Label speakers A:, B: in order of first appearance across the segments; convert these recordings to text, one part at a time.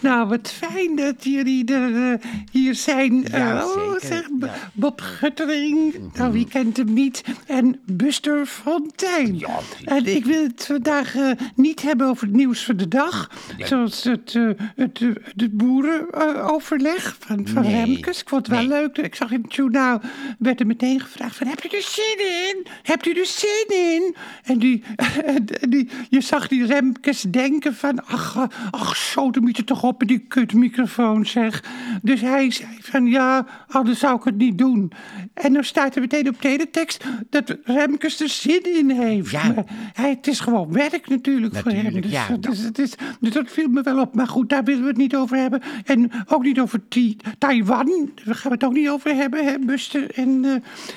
A: Nou, wat fijn dat jullie er eh, hier zijn.
B: Ja,
A: Eh, oh,
B: zeker,
A: zeg, B-
B: ja. Mhm.
A: Bob Guttering, nou wie kent hem niet, en Buster Fontijn.
B: Ja, precies.
A: en ik wil het vandaag eh, niet hebben over het nieuws van de dag,
B: Nee.
A: zoals het, eh, het, eh, het boerenoverleg van, van
B: Nee.
A: Remkes. Ik vond het wel
B: Nee.
A: leuk, ik zag in het journaal, werd er meteen gevraagd van, heb je er zin in? Hebt u er zin in? En die, en die, je zag die Remkes denken van, ach, eh, ach zo, de miet toch op met die kutmicrofoon zeg. Dus hij zei van, ja, anders zou ik het niet doen. En dan staat er meteen op teletext dat Remkes er zin in heeft.
B: Ja.
A: Maar hij, het is gewoon werk natuurlijk, voor hem.
B: Natuurlijk,
A: Dus
B: ja,
A: dat
B: dat-
A: is- het is, dus dat viel me wel op. Maar goed, daar willen we het niet over hebben. En ook niet over Ti- Taiwan. Daar gaan we het ook niet over hebben, hè, Buster en,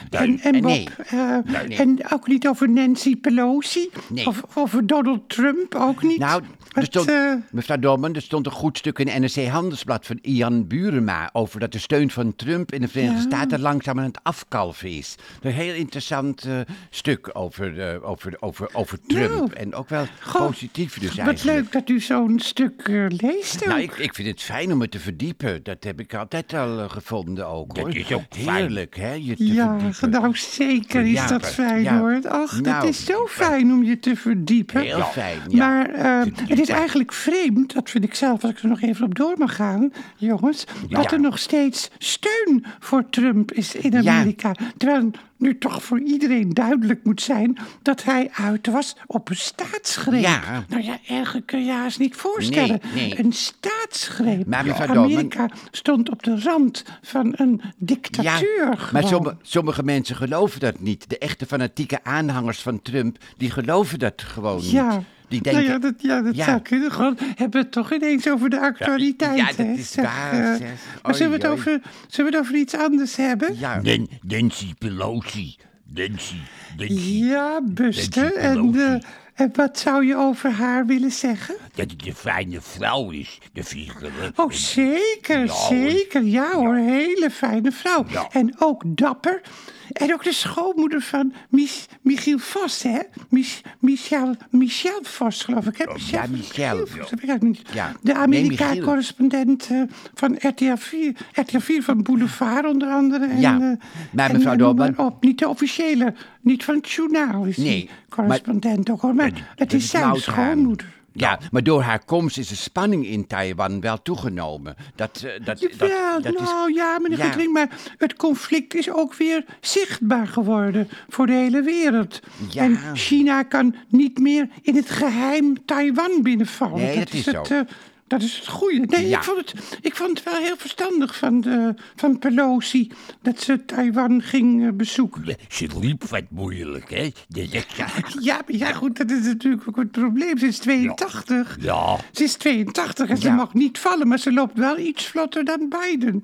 A: eh, en, en
B: eh,
A: Bob.
B: nee.
A: Eh,
B: nee.
A: En ook niet over Nancy Pelosi.
B: Nee.
A: Of over Donald Trump ook niet.
B: Nou, er
A: Het,
B: stond,
A: eh,
B: mevrouw Dorman, er stond een goed stuk in NRC Handelsblad van Ian Burema over dat de steun van Trump in de Verenigde Staten langzaam aan het afkalven is. Een heel interessant eh, stuk over, eh, over, over, over Trump.
A: Nou,
B: en ook wel
A: goh,
B: positief dus
A: wat
B: eigenlijk.
A: leuk dat u zo'n stuk eh, leest ook.
B: Nou, ik, ik vind het fijn om het te verdiepen. Dat heb ik altijd al eh, gevonden ook, hoor.
C: Dat is ook fijn.
B: Heerlijk, hè, je te
A: ja,
B: verdiepen.
A: nou zeker is dat
B: Verdiepen,
A: fijn
B: ja.
A: hoor. Ach, dat
B: Nou,
A: is zo fijn om je te verdiepen.
B: Heel fijn, ja.
A: Maar eh, het is eigenlijk vreemd, dat vind ik zelf, als ik er nog even op door mag gaan, jongens, dat er nog steeds steun voor Trump is in
B: Ja.
A: Amerika. Terwijl nu toch voor iedereen duidelijk moet zijn dat hij uit was op een staatsgreep.
B: Ja.
A: Nou ja, erger kun je haast niet voorstellen.
B: Nee, nee.
A: Een staatsgreep.
B: Maar mevrouw Dorman-
A: Amerika stond op de rand van een dictatuur.
B: maar
A: gewoon.
B: sommige, sommige mensen geloven dat niet. De echte fanatieke aanhangers van Trump, die geloven dat gewoon
A: Ja.
B: niet. Die denken,
A: nou ja, dat, ja, dat
B: Ja.
A: zou kunnen. Gewoon, hebben we het toch ineens over de actualiteit.
B: ja, dat
A: hè?
B: is waar,
A: eh,
B: zeg.
A: maar zullen we, het
B: Oei,
A: over, zullen we het over iets anders hebben?
B: ja.
C: Nen- Nancy Pelosi. Nancy. Nancy.
A: Ja, Buster.
C: Nancy
A: En,
C: Pelosi.
A: eh, en wat zou je over haar willen zeggen?
C: Dat het een fijne vrouw is. De vliegere.
A: Oh, zeker,
C: Ja, hoor.
A: zeker. Ja hoor, hele fijne vrouw.
C: Ja.
A: En ook dapper. En ook de schoonmoeder van Mich Michiel Vos, hè? Mich Michel, Michel Vos, geloof ik. Hè? Michel,
B: ja, Michel,
A: Vos,
B: ja.
A: dat weet ik eigenlijk niet.
B: Ja.
A: De
B: Nee, Michiel.
A: Amerika-correspondent eh, van RTL 4. RTL 4 van Boulevard onder andere. En,
B: Ja.
A: eh,
B: Maar
A: en-
B: mevrouw
A: en noem
B: Dolman-
A: maar op. Niet de officiële, niet van het journaal is
B: Nee,
A: die
B: maar-
A: correspondent ook hoor. Maar het is zijn
B: Maud Haan.
A: schoonmoeder.
B: Ja, maar door haar komst is de spanning in Taiwan wel toegenomen. Dat, eh, dat, dat,
A: Jawel,
B: dat is...
A: nou ja, meneer
B: Ja.
A: Guttering, maar het conflict is ook weer zichtbaar geworden voor de hele wereld.
B: Ja.
A: En China kan niet meer in het geheim Taiwan binnenvallen.
B: Nee, dat is
A: het,
B: zo.
A: eh, dat is het goede. Nee,
B: Ja.
A: ik, vond het, ik vond het wel heel verstandig van, de, van Pelosi dat ze Taiwan ging eh, bezoeken. Ja.
C: Ze liep wat moeilijk, hè? Dat ik zag.
A: maar ja, goed, dat is natuurlijk ook het probleem. Ze is 82.
C: Ja.
A: Ze is 82 en ze
B: Ja.
A: mag niet vallen, maar ze loopt wel iets vlotter dan Biden.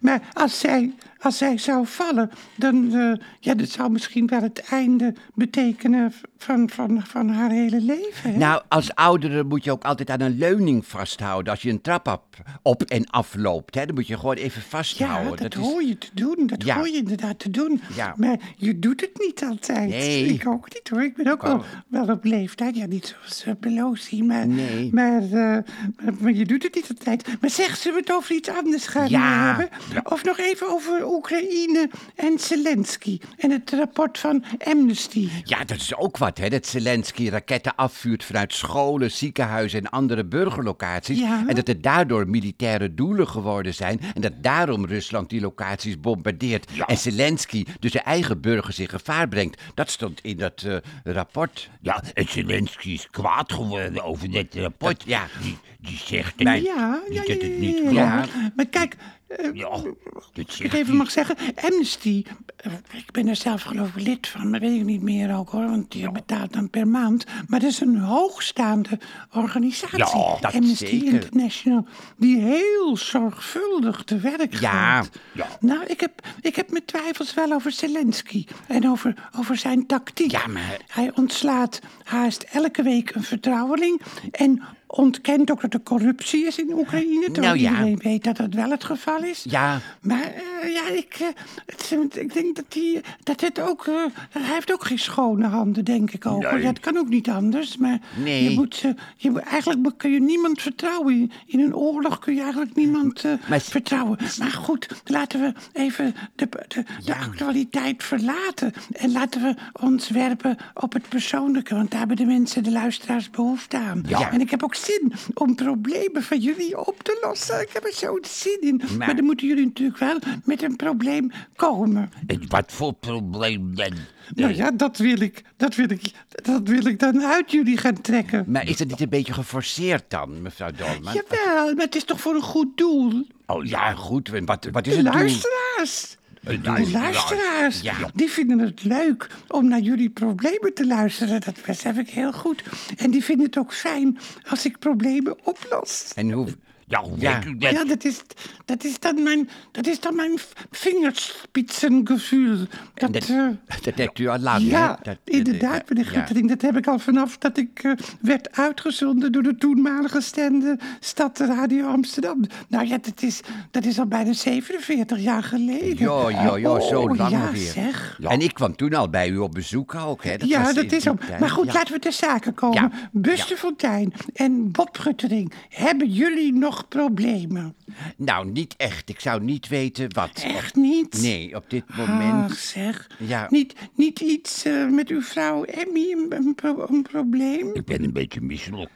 A: Maar als zij, als zij zou vallen, dan eh, ja, dat zou misschien wel het einde betekenen van, van, van haar hele leven. hè?
B: Nou, als oudere moet je ook altijd aan een leuning vasthouden. Als je een trap op, op en afloopt, hè, dan moet je gewoon even
A: ja,
B: vasthouden.
A: dat,
B: Nou, is-
A: hoor je te doen. Dat
B: Ja.
A: hoor je inderdaad te doen.
B: Ja.
A: Maar je doet het niet altijd.
B: Nee. Oh.
A: Ik ook niet hoor. Ik ben ook wel, wel op leeftijd. Ja, niet zoals eh, Pelosi, maar,
B: Nee.
A: maar, eh, maar, maar je doet het niet altijd. Maar zeg, zullen we het over iets anders gaan
B: Ja.
A: hebben? Of nog even over Oekraïne en Zelensky en het rapport van Amnesty.
B: Ja, dat is ook wat, hè? Dat Zelensky raketten afvuurt vanuit scholen, ziekenhuizen en andere burgerlocaties.
A: Ja.
B: En dat er daardoor militaire doelen geworden zijn. En dat daarom Rusland die locaties bombardeert. En Zelensky dus zijn eigen burgers in gevaar brengt. Dat stond in dat eh, rapport.
C: Ja, en Zelensky is kwaad geworden over dit rapport.
B: Dat- ja.
C: Die, die zegt dat,
B: Nee.
A: Nou Ja,
C: niet
A: ja, ja,
C: dat het niet
A: ja,
C: klopt.
A: ja.
C: Ja.
A: Maar kijk, eh,
C: dat
A: ik
C: zegt
A: het even
C: hij.
A: mag zeggen. Amnesty, eh, ik ben er zelf geloof ik lid van, maar weet ik niet meer ook hoor, want je betaalt dan per maand. Maar dat is een hoogstaande organisatie,
B: Ja, dat
A: Amnesty
B: zeker.
A: International, die heel zorgvuldig te werk
B: Ja,
A: gaat.
C: ja.
A: Nou, ik heb, ik heb mijn twijfels wel over Zelensky en over, over zijn tactiek.
B: Ja, maar-
A: Hij ontslaat haast elke week een vertrouweling en ontkent ook dat er corruptie is in Oekraïne. Terwijl
B: Nou ja.
A: iedereen weet dat dat wel het geval is.
B: Ja.
A: Maar eh, ja, ik, eh, het- ik denk dat, die, dat het ook... eh, hij heeft ook geen schone handen, denk ik ook. hoor.
C: Nee.
A: Dat kan ook niet anders. Maar
B: Nee.
A: je moet, eh, je, moet- eigenlijk be- kun je niemand vertrouwen. In- In een oorlog kun je eigenlijk niemand eh,
B: Maar s-
A: vertrouwen. Maar goed, laten we even de, de, de actualiteit verlaten. En laten we ons werpen op het persoonlijke. Want daar hebben de mensen, de luisteraars, behoefte aan.
B: Ja.
A: En ik heb ook zin om problemen van jullie op te lossen. Ik heb er zo'n zin in.
B: Nou.
A: Maar, dan moeten jullie natuurlijk wel met een probleem komen.
C: En wat voor probleem dan?
A: Nou ja, dat wil ik. Dat wil ik, dat wil ik dan uit jullie gaan trekken.
B: Maar is dat niet een beetje geforceerd dan, mevrouw Dolman?
A: Jawel, maar het is toch voor een goed doel?
B: Oh ja, goed. en Wat, wat is
A: De
B: het doel?
A: luisteraars. De luisteraars,
B: Ja.
A: die vinden het leuk om naar jullie problemen te luisteren. Dat besef ik heel goed. En die vinden het ook fijn als ik problemen oplos.
B: En hoe...
C: Ja, hoe
B: Ja.
C: weet u dat?
A: Ja, dat is, dat is dan mijn, dat is dan mijn v- vingerspitsengevoel. Dat,
B: Dat,
A: eh,
B: dat hebt u al lang, hè?
A: ja,
B: Dat- dat- eh,
A: inderdaad, meneer
B: ja.
A: Guttering. Dat heb ik al vanaf dat ik eh, werd uitgezonden door de toenmalige stende stad Radio Amsterdam. Nou ja, dat is, dat is al bijna 47 jaar geleden.
B: Jo, jo, jo, zo
A: Oh,
B: lang
A: ja,
B: weer.
A: zeg.
B: En ik kwam toen al bij u op bezoek ook, hè?
A: ja,
B: was
A: dat
B: in die
A: is ook.
B: tijd.
A: Maar goed,
B: Ja.
A: laten we ter zake komen.
B: Ja,
A: Buster Fontijn en Bob Guttering, hebben jullie nog problemen?
B: Nou, niet echt. Ik zou niet weten wat.
A: Echt niet?
B: Nee, op dit moment...
A: Ach, zeg.
B: Ja.
A: Niet, niet iets eh, met uw vrouw Emmy, een, een pro- een probleem?
C: Ik ben een beetje misselijk.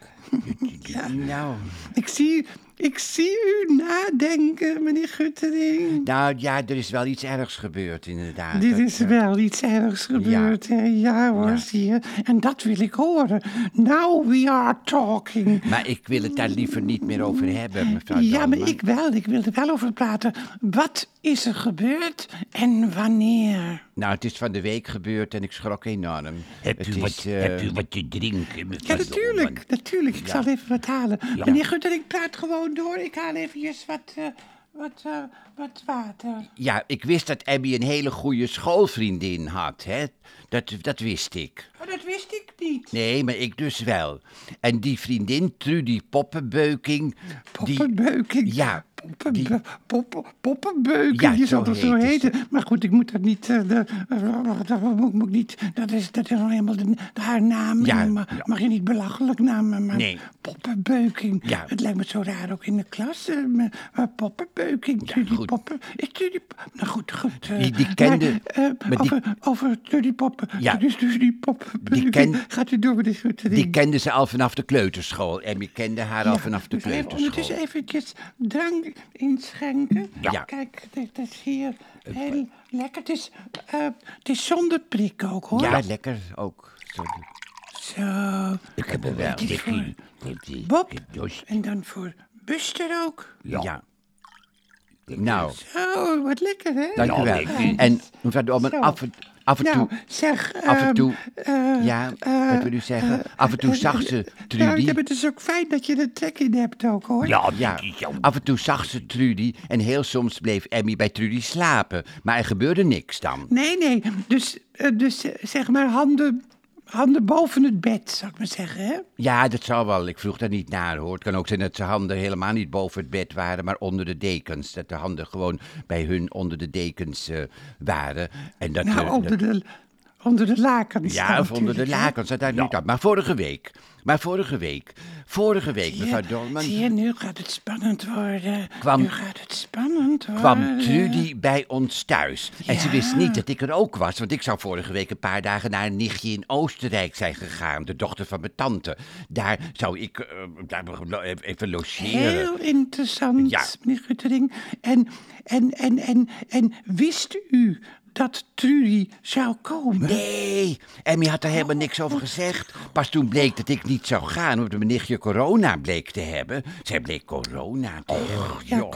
B: Nou,
A: Ik zie, ik zie u nadenken, meneer Guttering.
B: nou ja, er is wel iets ergs gebeurd, inderdaad.
A: Dit
B: Dat- eh,
A: is wel iets ergs gebeurd. hè? Ja, hoor, zie je. En dat wil ik horen. Now we are talking.
B: Maar ik wil het daar liever niet meer over hebben, mevrouw
A: Ja, maar
B: Dolman.
A: ik wel. Ik wil er wel over praten. Wat is er gebeurd en wanneer?
B: Nou, het is van de week gebeurd en ik schrok enorm.
C: Heb
B: het
C: u, wat,
B: is, eh,
C: heb u wat te drinken?
A: Ja,
C: mevrouw Dolman?
A: natuurlijk. Natuurlijk. Ik zal even wat halen. Meneer Gutter, ik praat gewoon door. Ik haal eventjes wat, eh, wat, eh, wat water.
B: Ja, ik wist dat Abby een hele goede schoolvriendin had, hè. Dat, dat wist ik.
A: Oh, dat wist ik niet.
B: Nee, maar ik dus wel. En die vriendin Trudy Poppenbeuking... Die,
A: Poppenbeuking.
B: Ja,
A: Poppenbe-
B: die-
A: poppen- poppenbeuking.
B: Ja,
A: je
B: zo
A: zal dat zo
B: heet
A: heten. Maar goed, ik moet dat niet. eh, de- dat moet, moet ik niet dat is, dat is nog helemaal de, haar naam.
B: Ja,
A: En ma-
B: ja.
A: Mag je niet belachelijk namen. Maar
B: Nee.
A: Poppenbeuking.
B: Ja.
A: Het lijkt me zo raar ook in de klas. eh, me- maar poppenbeuking. Trudy
B: goed.
A: Poppen. Is Trudy. Nou goed, goed. eh,
B: Die- die
A: maar,
B: kende-
A: eh,
B: maar die-
A: over, over Trudy Poppen.
B: Ja.
A: Dus Trudy Poppenbeuking.
B: ken-
A: Gaat u door met dit soort
B: die kende ze al vanaf de kleuterschool. Abby kende haar al vanaf de
A: dus even ondertussen
B: kleuterschool.
A: eventjes drank inschenken.
B: Ja.
A: Kijk, dit is hier heel lekker. Het is, eh, het is zonder prik ook, hoor.
B: Ja, lekker ook. Zo-
A: Zo.
C: Ik heb er wel trek in. Dat, eh,
A: Bob.
C: ik heb dorst.
A: En dan voor Buster ook.
B: Ja. Nou,
A: Zo, wat lekker, hè?
B: dank u
C: Ja,
B: wel.
C: lekker.
B: En mevrouw Dolman,
A: Zo.
B: af en, Nou, af en
A: nou,
B: toe...
A: zeg...
B: Af en
A: ehm,
B: toe,
A: eh,
B: ja,
A: eh,
B: wat wil u zeggen? af en toe zag ze Trudy. Oh,
A: Nou, ja, maar het is ook fijn dat je er trek in hebt ook, hoor.
C: Ja, Oh, ja.
B: Ja,
C: dat is zo.
B: af en toe zag ze Trudy en heel soms bleef Emmy bij Trudy slapen. Maar er gebeurde niks dan.
A: Nee, nee. Dus, eh, dus eh, zeg maar handen, handen boven het bed, zou ik maar zeggen, hè?
B: Ja, dat zou wel. Ik vroeg daar niet naar hoor. Het kan ook zijn dat zijn handen helemaal niet boven het bed waren, maar onder de dekens. Dat de handen gewoon bij hun onder de dekens eh, waren. En dat,
A: Nou,
B: eh,
A: onder de, onder de lakens.
B: Ja,
A: dan
B: of onder de
A: natuurlijk, hè.
B: lakens, dat uit Maar vorige week, maar vorige week, vorige week, mevrouw
A: Zie je-
B: Dolman,
A: Zie je, nu gaat het spannend worden.
B: Kwam-
A: nu gaat het spannend worden.
B: kwam Trudy bij ons thuis. En ze
A: Ja.
B: wist niet dat ik er ook was, want ik zou vorige week een paar dagen naar een nichtje in Oostenrijk zijn gegaan, de dochter van mijn tante. Daar zou ik eh, daar even logeren.
A: Heel interessant,
B: Ja.
A: meneer Guttering. En, en, en, en, en wist u dat Trudy zou komen?
B: Nee, Emmy had daar helemaal niks over gezegd. Pas toen bleek dat ik niet zou gaan, omdat mijn nichtje corona bleek te hebben. Zij bleek corona
C: Oh,
B: te hebben.
A: Ja,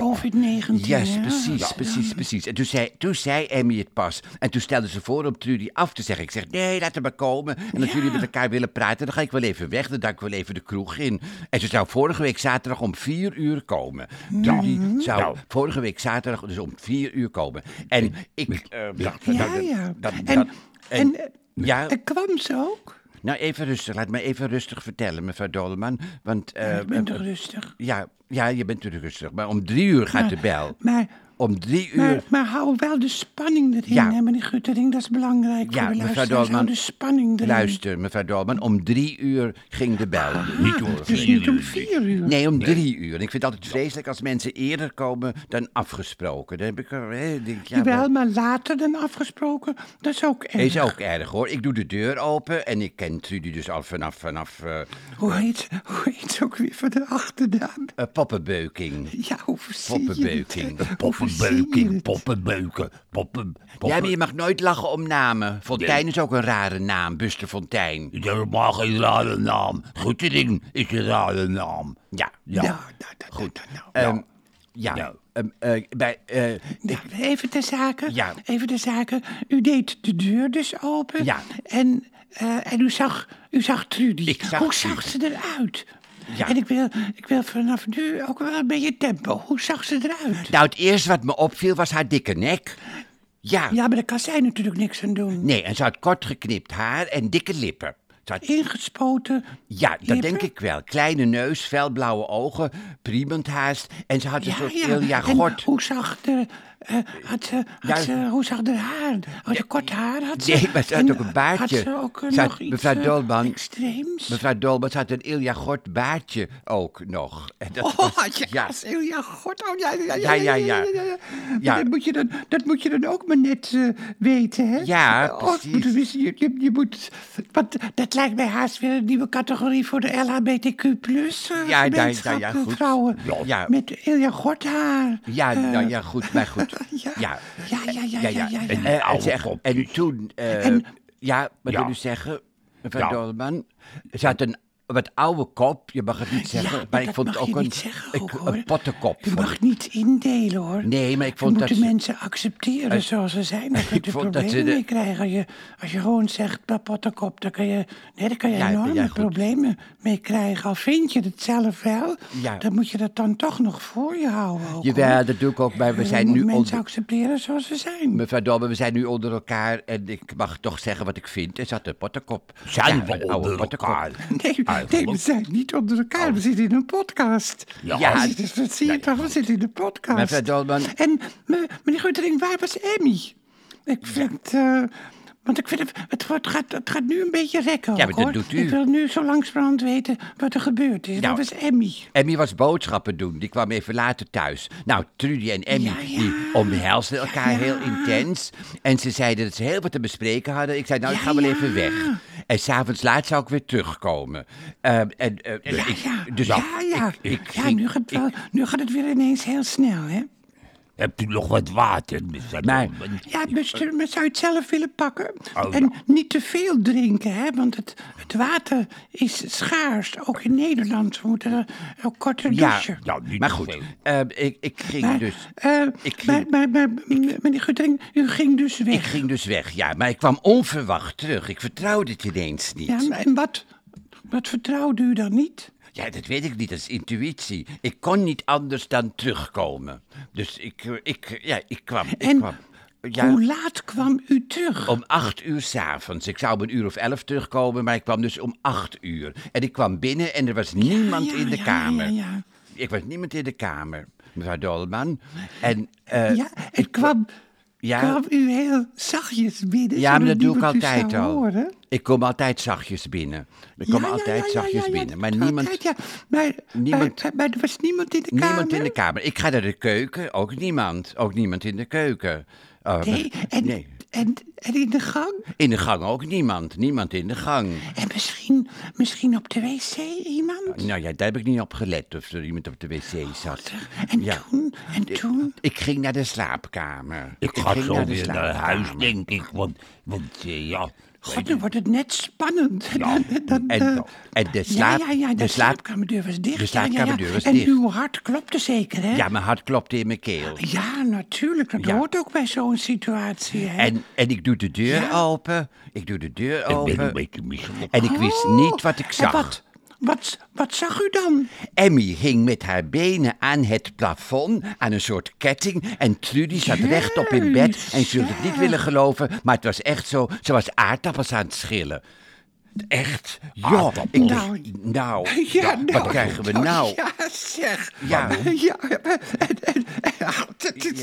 A: COVID-19.
B: Yes,
A: hè?
B: precies, precies, precies. En toen zei, toen zei Emmy het pas. En toen stelde ze voor om Trudy af te zeggen. Ik zeg, nee, laat hem maar komen. En als jullie met elkaar willen praten, dan ga ik wel even weg. Dan duik ik wel even de kroeg in. En ze zou vorige week zaterdag om vier uur komen.
A: Mhm.
B: Trudy zou vorige week zaterdag dus om vier uur komen. En ik eh, dacht...
A: Ja,
B: nou, dat-
A: ja.
B: dat-
A: en,
B: dat-
A: en,
B: ja,
A: eh, kwam ze ook?
B: Nou, even rustig. Laat me even rustig vertellen, mevrouw Dolman. Want, eh,
A: Ik ben
B: eh,
A: toch rustig.
B: ja, ja, je bent natuurlijk rustig. Maar om drie uur gaat de bel.
A: Maar,
B: Om drie
A: maar,
B: uur.
A: maar hou wel de spanning erin,
B: Ja.
A: hè, meneer Guttering. Dat is belangrijk
B: Ja,
A: voor de
B: mevrouw
A: luisteraars.
B: Dolman,
A: Hou de spanning erin.
B: Luister, mevrouw Dolman, om drie uur ging de bel.
C: Niet om
A: Dus
C: vier
A: niet om
C: uur.
A: vier uur.
B: Nee, om drie uur. En ik vind het altijd vreselijk als mensen eerder komen dan afgesproken. Dan heb ik er, hè, denk, ja,
A: Jawel, maar later dan afgesproken, dat is ook erg.
B: Is ook erg hoor. Ik doe de deur open en ik ken Trudy dus al vanaf, vanaf eh
A: Hoe heet, hoe heet ze ook weer van de achternaam?
B: eh, poppenbeuking.
A: Ja, hoe verzin je
B: Poppenbeuking.
A: het? Hoe verzin je
C: Poppenbeuking,
A: het?
C: poppenbeuken, poppen...
B: Ja, maar
C: poppen.
B: je mag nooit lachen om namen. Fontijn is ook een rare naam, Buster Fontijn.
C: Het is helemaal geen rare naam. Guttering is een rare naam.
B: Ja.
A: Ja,
C: Ja.
A: nou, nou, nou, Goed. nou.
B: Ehm, ja.
C: Nou.
B: Ehm, eh, bij, eh,
A: Ja, even ter zake.
B: Ja.
A: Even ter zake. U deed de deur dus open.
B: Ja.
A: En, eh, en u, zag, u zag Trudy.
B: Ik zag
A: Hoe
B: Trudy.
A: zag ze eruit?
B: Ja.
A: En ik wil, ik wil vanaf nu ook wel een beetje tempo. Hoe zag ze eruit?
B: nou, het eerste wat me opviel was haar dikke nek. Ja.
A: Ja, maar daar kan zij natuurlijk niks aan doen.
B: Nee, en ze had kort geknipt haar en dikke lippen. Ze had
A: Ingespoten.
B: Ja, dat
A: Lippen?
B: denk ik wel. Kleine neus, felblauwe ogen, priemend haast. En ze had een soort Ilja
A: En
B: Gort.
A: hoe zag de, eh, had ze, had
B: Ja.
A: ze, hoe zag de haar? Had ze kort haar? Had ze,
B: Nee, maar ze had
A: en
B: ook een baardje.
A: Had ze ook eh,
B: Ze had-
A: nog iets
B: mevrouw
A: eh,
B: Dolman-
A: extreems?
B: Mevrouw Dolman ze had een Ilja Gort baardje ook nog. En dat
A: Oh,
B: was-
A: had je
B: ja.
A: als Ilja Gort. Oh, ja, ja,
B: Ja,
A: ja,
B: ja,
A: ja.
B: ja.
A: Maar
B: Ja.
A: Dat, moet je dan, dat moet je dan ook maar net eh, weten, hè?
B: Ja,
A: Oh, ik moet
B: precies.
A: het wissen. je, je, je moet... Want dat lijkt mij haast weer een nieuwe categorie voor de LHBTQ plus ja,
B: Ja, ja, ja, ja,
A: gemeenschap, eh,
B: goed.
A: vrouwen.
B: Ja.
A: Met Ilja Gort haar.
B: Ja,
A: Eh,
B: nou ja, goed, maar goed.
A: Ja.
B: Ja.
A: Ja, ja, ja, ja, ja, ja.
B: En, eh,
C: Oude
B: zeg,
C: kopjes.
B: en toen... eh,
A: En-
B: ja, wat
C: Ja.
B: wil u zeggen, mevrouw
C: Ja.
B: Dolman? Ze had een wat oude kop, je mag het niet zeggen.
A: maar
B: maar ik
A: dat
B: vond
A: mag
B: het ook
A: je
B: een,
A: niet zeggen
B: een-
A: ook, hoor.
B: een pottenkop.
A: Je
B: vond
A: mag
B: ik.
A: niet indelen, hoor.
B: Nee, maar ik
A: Je
B: vond
A: moet
B: dat
A: de
B: ze-
A: mensen accepteren zoals ze zijn. Daar kun je
B: vond dat
A: problemen
B: ze de-
A: mee krijgen. Als je, als je gewoon zegt, "Pa, pottenkop, dan kan je, nee, dan kan je
B: Ja, ben
A: enorme
B: jij goed.
A: problemen mee krijgen. Al vind je het zelf wel,
B: Ja.
A: dan moet je dat dan toch nog voor je houden. Ook,
B: Jawel,
A: hoor.
B: dat doe ik ook, maar we
A: Je
B: zijn
A: moet
B: nu...
A: mensen
B: onder-
A: accepteren zoals ze zijn.
B: Mevrouw Dobbe, we zijn nu onder elkaar en ik mag toch zeggen wat ik vind. Er zat een pottenkop.
C: Zijn
B: Ja, oh,
C: we
B: een oude
C: onder
B: pottenkop.
C: elkaar?
A: Nee, nee, we
C: Eigenlijk.
A: zijn niet onder elkaar. We zitten in een podcast.
C: Ja,
B: Oh. Ja,
A: Dat is- dat zie je toch? We zitten in de podcast.
B: Mevrouw Dolman.
A: En me- meneer Guttering, waar was Emmy? Ik vind... eh, want ik vind het, het, wordt, gaat, het gaat nu een beetje rekken.
B: Ja,
A: ook,
B: maar dat
A: hoor.
B: doet u.
A: Ik wil nu zo langzamerhand weten wat er gebeurd is.
B: Nou,
A: Dat was Emmy.
B: Emmy was boodschappen doen, die kwam even later thuis. Nou, Trudy en Emmy
A: Ja, ja.
B: die omhelsden elkaar
A: Ja, ja.
B: heel intens. En ze zeiden dat ze heel wat te bespreken hadden. Ik zei, nou, ik
A: Ja,
B: ga wel
A: ja.
B: even weg. En s'avonds laat zou ik weer terugkomen. Ehm, en, eh, en ik-
A: Ja,
B: Dus
A: ja,
B: ik-
A: ja.
B: ik- ik
A: ja
B: ging-
A: nu, gaat, wel- nu gaat het weer ineens heel snel, hè?
C: Hebt u nog wat water? mevrouw
B: Nee.
C: Dolman?
A: Ja, mister, maar zou je het zelf willen pakken?
C: Oh,
A: en
B: nou.
C: ja.
A: niet te veel drinken, hè? Want het, het water is schaars, ook in Nederland. We moeten er ook korter
B: ja,
A: douchen.
C: Ja, niet
B: maar
C: te
B: goed.
C: veel.
B: ehm, ik, ik ging
A: Maar,
B: dus...
A: eh,
B: ik ging-
A: maar, maar, maar, m- meneer Guttering, u ging dus weg.
B: Ik ging dus weg, ja, maar ik kwam onverwacht terug. Ik vertrouwde het ineens niet.
A: Ja, maar- en wat, wat vertrouwde u dan niet?
B: Ja, dat weet ik niet, dat is intuïtie. Ik kon niet anders dan terugkomen. Dus ik, eh, ik, eh, ja, ik kwam. ik
A: En
B: kwam ja,
A: hoe laat kwam u terug?
B: om acht uur s'avonds. Ik zou om een uur of elf terugkomen, maar ik kwam dus om acht uur. En ik kwam binnen en er was niemand
A: Ja,
B: in de
A: ja,
B: kamer.
A: Ja, ja,
B: Ik was niemand in de kamer, mevrouw Dolman. En, eh,
A: ja en kwam,
B: ja.
A: kwam u heel zachtjes binnen?
B: ja, maar
A: zodat
B: dat doe ik
A: niemand u
B: altijd
A: zou
B: al.
A: nou Horen?
B: Ik kom altijd zachtjes binnen. Ik kom
A: Ja, ja,
B: altijd
A: ja, ja,
B: zachtjes
A: ja, ja,
B: binnen.
A: dat
B: Maar
A: doet
B: niemand,
A: altijd, ja. Maar, maar,
B: niemand-
A: maar- maar er was niemand in de kamer?
B: Niemand in de kamer. Ik ga naar de keuken, ook niemand. Ook niemand in de keuken. Oh,
A: Nee, en,
B: nee.
A: En, en in de gang?
B: In de gang ook niemand. Niemand in de gang.
A: En misschien, misschien op de wc iemand?
B: Nou ja, daar heb ik niet op gelet of er iemand op de wc zat.
A: En
B: Ja.
A: toen, en toen...
B: Ik ging naar de slaapkamer.
C: Ik ga
B: ging
C: zo
B: naar de
C: weer naar
B: slaapkamer.
C: huis, denk ik. Want, want eh, ja...
A: God, nu wordt het net spannend.
C: Ja,
A: Dan,
B: En,
A: eh,
B: en de
A: ja,
B: slaap...
A: ja, ja, de,
B: de slaap
A: slaapkamerdeur was dicht.
B: de
A: ja, ja, ja.
B: slaapkamerdeur was
A: en
B: dicht.
A: uw hart klopte zeker, hè?
B: ja, mijn hart klopte in mijn keel.
A: Ja, natuurlijk. Dat
B: Ja.
A: hoort ook bij zo'n situatie, hè?
B: En, en ik doe de deur
A: Ja.
B: open. Ik doe de deur
C: Ik ben een
B: open.
C: beetje misselijk.
B: En ik wist
A: Oh,
B: niet wat ik
A: en
B: zag.
A: Wat, wat, wat zag u dan?
B: Emmy hing met haar benen aan het plafond, aan een soort ketting. En Trudy zat rechtop in bed. En ze wilde het niet
A: Jeetje.
B: willen geloven, maar het was echt zo. Ze was aardappels aan het schillen. Echt? Ja,
C: Aardappels.
B: ik,
A: Nou.
B: nou,
A: Ja,
B: ja,
A: nou,
B: wat krijgen we nou?
A: Ja, zeg.
B: Ja.
A: Ja, en- en- en- ach, dit is-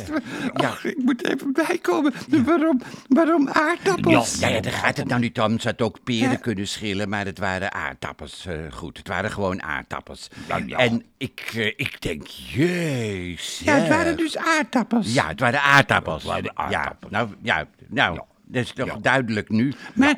B: Ja.
A: ach, ik moet even bijkomen. Waarom, waarom aardappels?
B: Ja, ja, daar gaat het nou niet om. Ze had ook peren
A: Ja.
B: kunnen schillen, maar het waren aardappels. eh, goed, het waren gewoon aardappels.
C: Ja,
A: Nou,
C: ja.
B: En ik, eh, ik denk, jezus.
A: Ja, het waren dus aardappels.
B: Ja, het waren aardappels.
C: Ja, het waren aardappels.
B: Ja, nou, ja, nou
C: Ja.
B: dat is toch
C: Ja.
B: duidelijk nu.
A: Maar,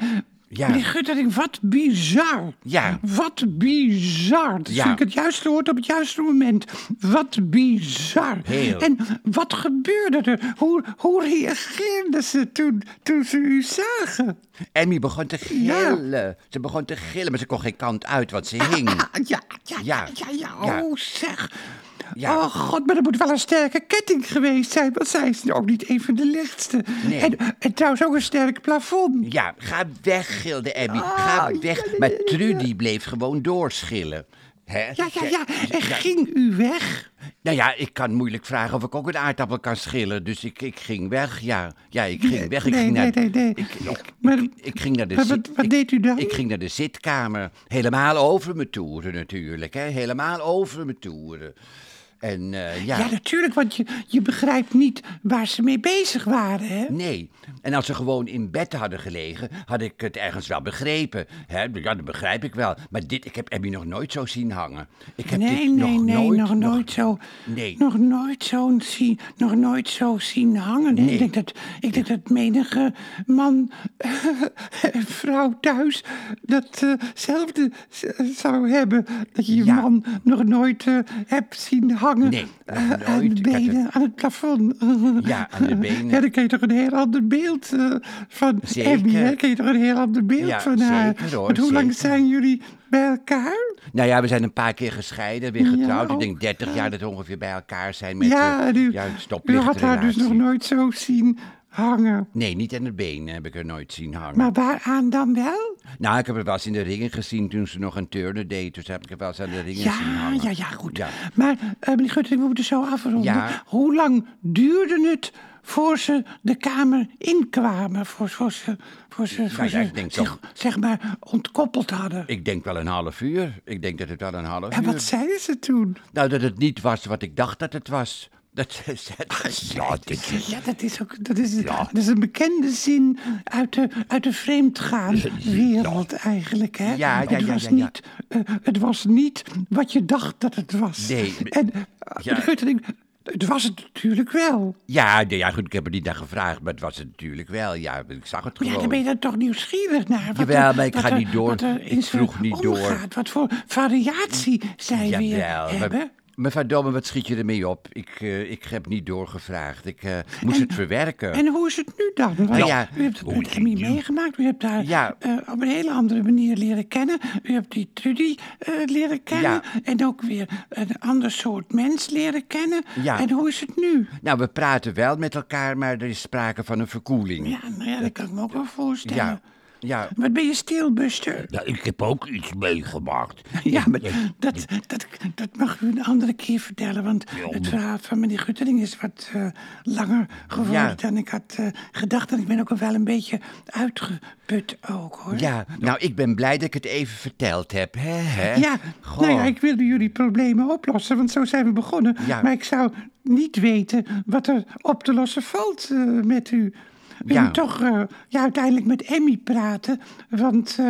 B: Ja.
A: meneer Guttering, wat bizar.
B: Ja.
A: Wat bizar. Dat
B: Ja.
A: vind ik het juiste woord op het juiste moment. Wat bizar.
B: Heel.
A: En wat gebeurde er? Hoe, hoe reageerden ze toen, toen ze u zagen?
B: Emmy begon te gillen. Ze begon te gillen, maar ze kon geen kant uit, want ze hing.
A: Ah, ja, ja, ja,
B: Ja.
A: ja, ja.
B: Ja.
A: Oh, zeg.
B: Ja.
A: Oh, god, maar dat moet wel een sterke ketting geweest zijn. Want zij is ook niet een van de lichtste.
B: Nee.
A: En, en trouwens ook een sterk plafond.
B: Ja, ga weg, gilde Emmy.
A: Ah,
B: ga weg. Maar Trudy bleef gewoon doorschillen. Hè?
A: Ja, ja, ja. En
B: Ja.
A: ging u weg?
B: Nou ja, ik kan moeilijk vragen of ik ook een aardappel kan schillen. Dus ik, ik ging weg, ja. Ja, ik ging weg. Ik
A: nee,
B: ging
A: nee,
B: naar,
A: nee, nee.
B: Ik, ik,
A: Maar-
B: ik- ik ging naar de
A: maar wat-
B: zit-
A: wat
B: ik-
A: deed u dan?
B: Ik ging naar de zitkamer. Helemaal over me toeren natuurlijk, hè. Helemaal over me toeren. En eh,
A: Ja, natuurlijk, want je, je begrijpt niet waar ze mee bezig waren, hè?
B: Nee. En als ze gewoon in bed hadden gelegen, had ik het ergens wel begrepen. Hè? Ja, dat begrijp ik wel. Maar dit, ik heb Abby nog nooit zo zien hangen. Ik heb
A: Nee,
B: dit
A: nee,
B: nog
A: nee,
B: nooit,
A: nog nooit zo.
B: Nee.
A: Nog nooit zo zien, nog nooit zo zien hangen. Ik, denk dat, ik denk dat menige man en vrouw thuis datzelfde zou hebben. Dat je je
B: Ja.
A: man nog nooit eh, hebt zien hangen
B: Nee, nog
A: eh, aan
B: nooit.
A: de
B: Ik had
A: benen, aan het plafond.
B: Ja, aan de benen.
A: Ja, dan kun je toch een heel ander beeld eh, van
B: Zeker.
A: Abby, hè? Kun je toch een heel ander beeld
B: Ja,
A: van haar.
B: zeker hoor,
A: Want hoe lang
B: zeker.
A: zijn jullie bij elkaar?
B: Nou ja, we zijn een paar keer gescheiden, weer getrouwd.
A: ook,
B: ik denk 30 jaar dat we ongeveer bij elkaar zijn met
A: ja,
B: eh,
A: nu,
B: ja, een
A: u had haar dus nog
B: stoplichtrelatie.
A: nooit zo zien hangen.
B: Nee, niet aan de benen heb ik er nooit zien hangen.
A: Maar waaraan dan wel?
B: Nou, ik heb haar wel eens in de ringen gezien toen ze nog een turnen deed. Dus heb ik haar wel eens aan de ringen
A: Ja,
B: zien hangen.
A: ja, ja, goed.
B: Ja.
A: Maar, eh meneer Guttering, we moeten zo afronden.
B: Ja.
A: Hoe lang duurde het voor ze de kamer inkwamen? Voor, voor ze, voor ze, voor
B: Nou ja,
A: ze
B: ik denk
A: zich, zeg maar, ontkoppeld hadden?
B: Ik denk wel een half uur. Ik denk dat het wel een half
A: en
B: uur
A: wat zeiden ze toen?
B: Nou, dat het niet was wat ik dacht dat het was. Dat is het.
C: Ja, dit is...
A: Ah, Ja, dat is, ook, dat is, dat is een bekende zin uit de, uit de vreemdgaan wereld eigenlijk. Hè?
B: Ja, ja,
A: het,
B: ja,
A: was
B: ja, ja.
A: Niet, eh, het was niet wat je dacht dat het was.
B: Nee,
A: En eh,
B: ja.
A: de Guttering, het was het natuurlijk wel.
B: Ja, nee, ja, goed, ik heb er niet naar gevraagd, maar het was het natuurlijk wel. Ja, ik zag het
A: Maar Oh Ja,
B: gewoon.
A: dan ben je dan toch nieuwsgierig naar. Wat
B: Jawel, maar ik
A: wat
B: ga niet door.
A: wat er in
B: Ik
A: ze
B: vroeg niet door.
A: omgaat, Wat voor variatie zij weer
B: Jawel,
A: hebben.
B: maar, maar verdomme, wat schiet je ermee op? Ik, eh, ik heb niet doorgevraagd. Ik eh, moest het verwerken.
A: En hoe is het nu dan? Want
B: Nou ja,
A: u hebt het
C: hoe
A: met
C: is
A: Emmy
C: het nu?
A: meegemaakt. U hebt daar
B: Ja.
A: eh, op een hele andere manier leren kennen. U hebt die Trudy eh, leren kennen.
B: Ja.
A: En ook weer een ander soort mens leren kennen.
B: Ja.
A: En hoe is het nu?
B: Nou, we praten wel met elkaar, maar er is sprake van een verkoeling.
A: Ja, nou ja, dat kan ik me ook wel voorstellen.
B: ja. ja.
A: Wat ben je stil, Buster?
C: Ja, ik heb ook iets meegemaakt.
A: Ja, maar dat, dat, dat mag u een andere keer vertellen. Want het
C: maar-
A: verhaal van meneer Guttering is wat eh, langer geworden
B: Ja.
A: dan ik had eh, gedacht. En ik ben ook wel een beetje uitgeput ook, hoor.
B: Ja, nou, ik ben blij dat ik het even verteld heb, hè? hè?
A: Ja,
B: Goh.
A: nou ja, ik wilde jullie problemen oplossen, want zo zijn we begonnen.
B: Ja.
A: Maar ik zou niet weten wat er op te lossen valt eh, met u. U
B: Ja.
A: moet toch eh, ja, uiteindelijk met Emmy praten, want eh,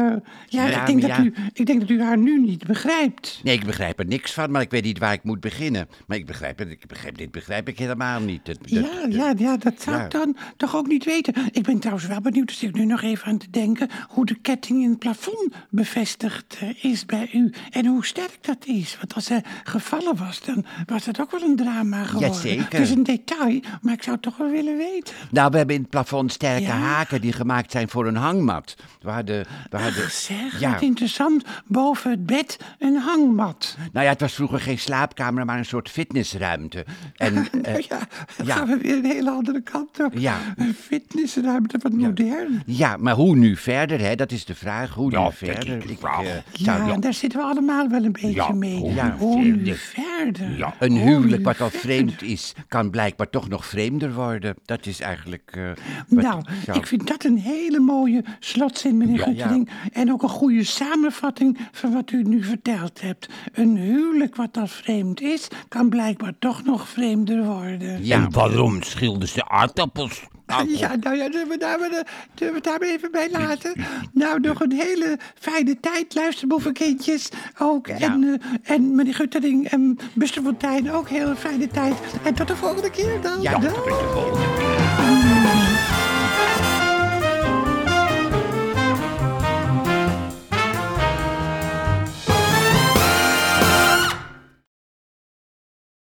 A: ja,
B: Ja,
A: ik, denk dat
B: maar ja.
A: u, ik denk dat u haar nu niet begrijpt.
B: Nee, ik begrijp er niks van, maar ik weet niet waar ik moet beginnen. Maar ik begrijp het, ik begrijp, dit begrijp ik helemaal niet. Dat- dat-
A: ja, ja, ja, dat zou
B: ja.
A: ik dan toch ook niet weten. Ik ben trouwens wel benieuwd, dus ik nu nog even aan te denken... hoe de ketting in het plafond bevestigd eh, is bij u. En hoe sterk dat is. Want als hij gevallen was, dan was dat ook wel een drama geworden.
B: zeker.
A: Het is een detail, maar ik zou het toch wel willen weten.
B: Nou, we hebben in het plafond sterke
A: Ja.
B: haken die gemaakt zijn voor een hangmat. We hadden... We hadden
A: Ach, zeg,
B: ja.
A: wat interessant. Boven het bed een hangmat.
B: Nou ja, het was vroeger geen slaapkamer, maar een soort fitnessruimte. En, eh,
A: nou ja, dan
B: ja.
A: gaan we weer een hele andere kant op.
B: Ja.
A: Een fitnessruimte, wat modern.
B: ja, maar hoe nu verder, hè? Dat is de vraag. Hoe
C: Ja,
B: nu
C: dat
B: verder?
C: is de vraag.
B: eh,
A: Ja,
B: zou-
A: daar zitten we allemaal wel een beetje
C: Ja,
A: mee.
C: hoe
A: Ja,
C: nu
A: hoe nu
C: verder?
A: verder? aarde.
C: Ja.
B: Een huwelijk wat al
A: vet.
B: vreemd is, kan blijkbaar toch nog vreemder worden. Dat is eigenlijk. eh, wat
A: Nou,
B: zou-
A: ik vind dat een hele mooie slotzin, meneer
B: Ja,
A: Goeteling. En ook een goede samenvatting van wat u nu verteld hebt. Een huwelijk wat al vreemd is, kan blijkbaar toch nog vreemder worden.
B: Ja,
C: En waarom schilderen ze aardappels? Appel.
A: Ja, nou ja, zullen we daar, maar, eh, zullen we het daar maar even bij laten? Nou, nog een hele fijne tijd, luisterboevenkindjes ook. En, eh, en meneer Guttering en Buster Fontijn ook heel fijne tijd. En tot de volgende keer dan.
B: ja,
A: Dag.
B: dat is de volgende.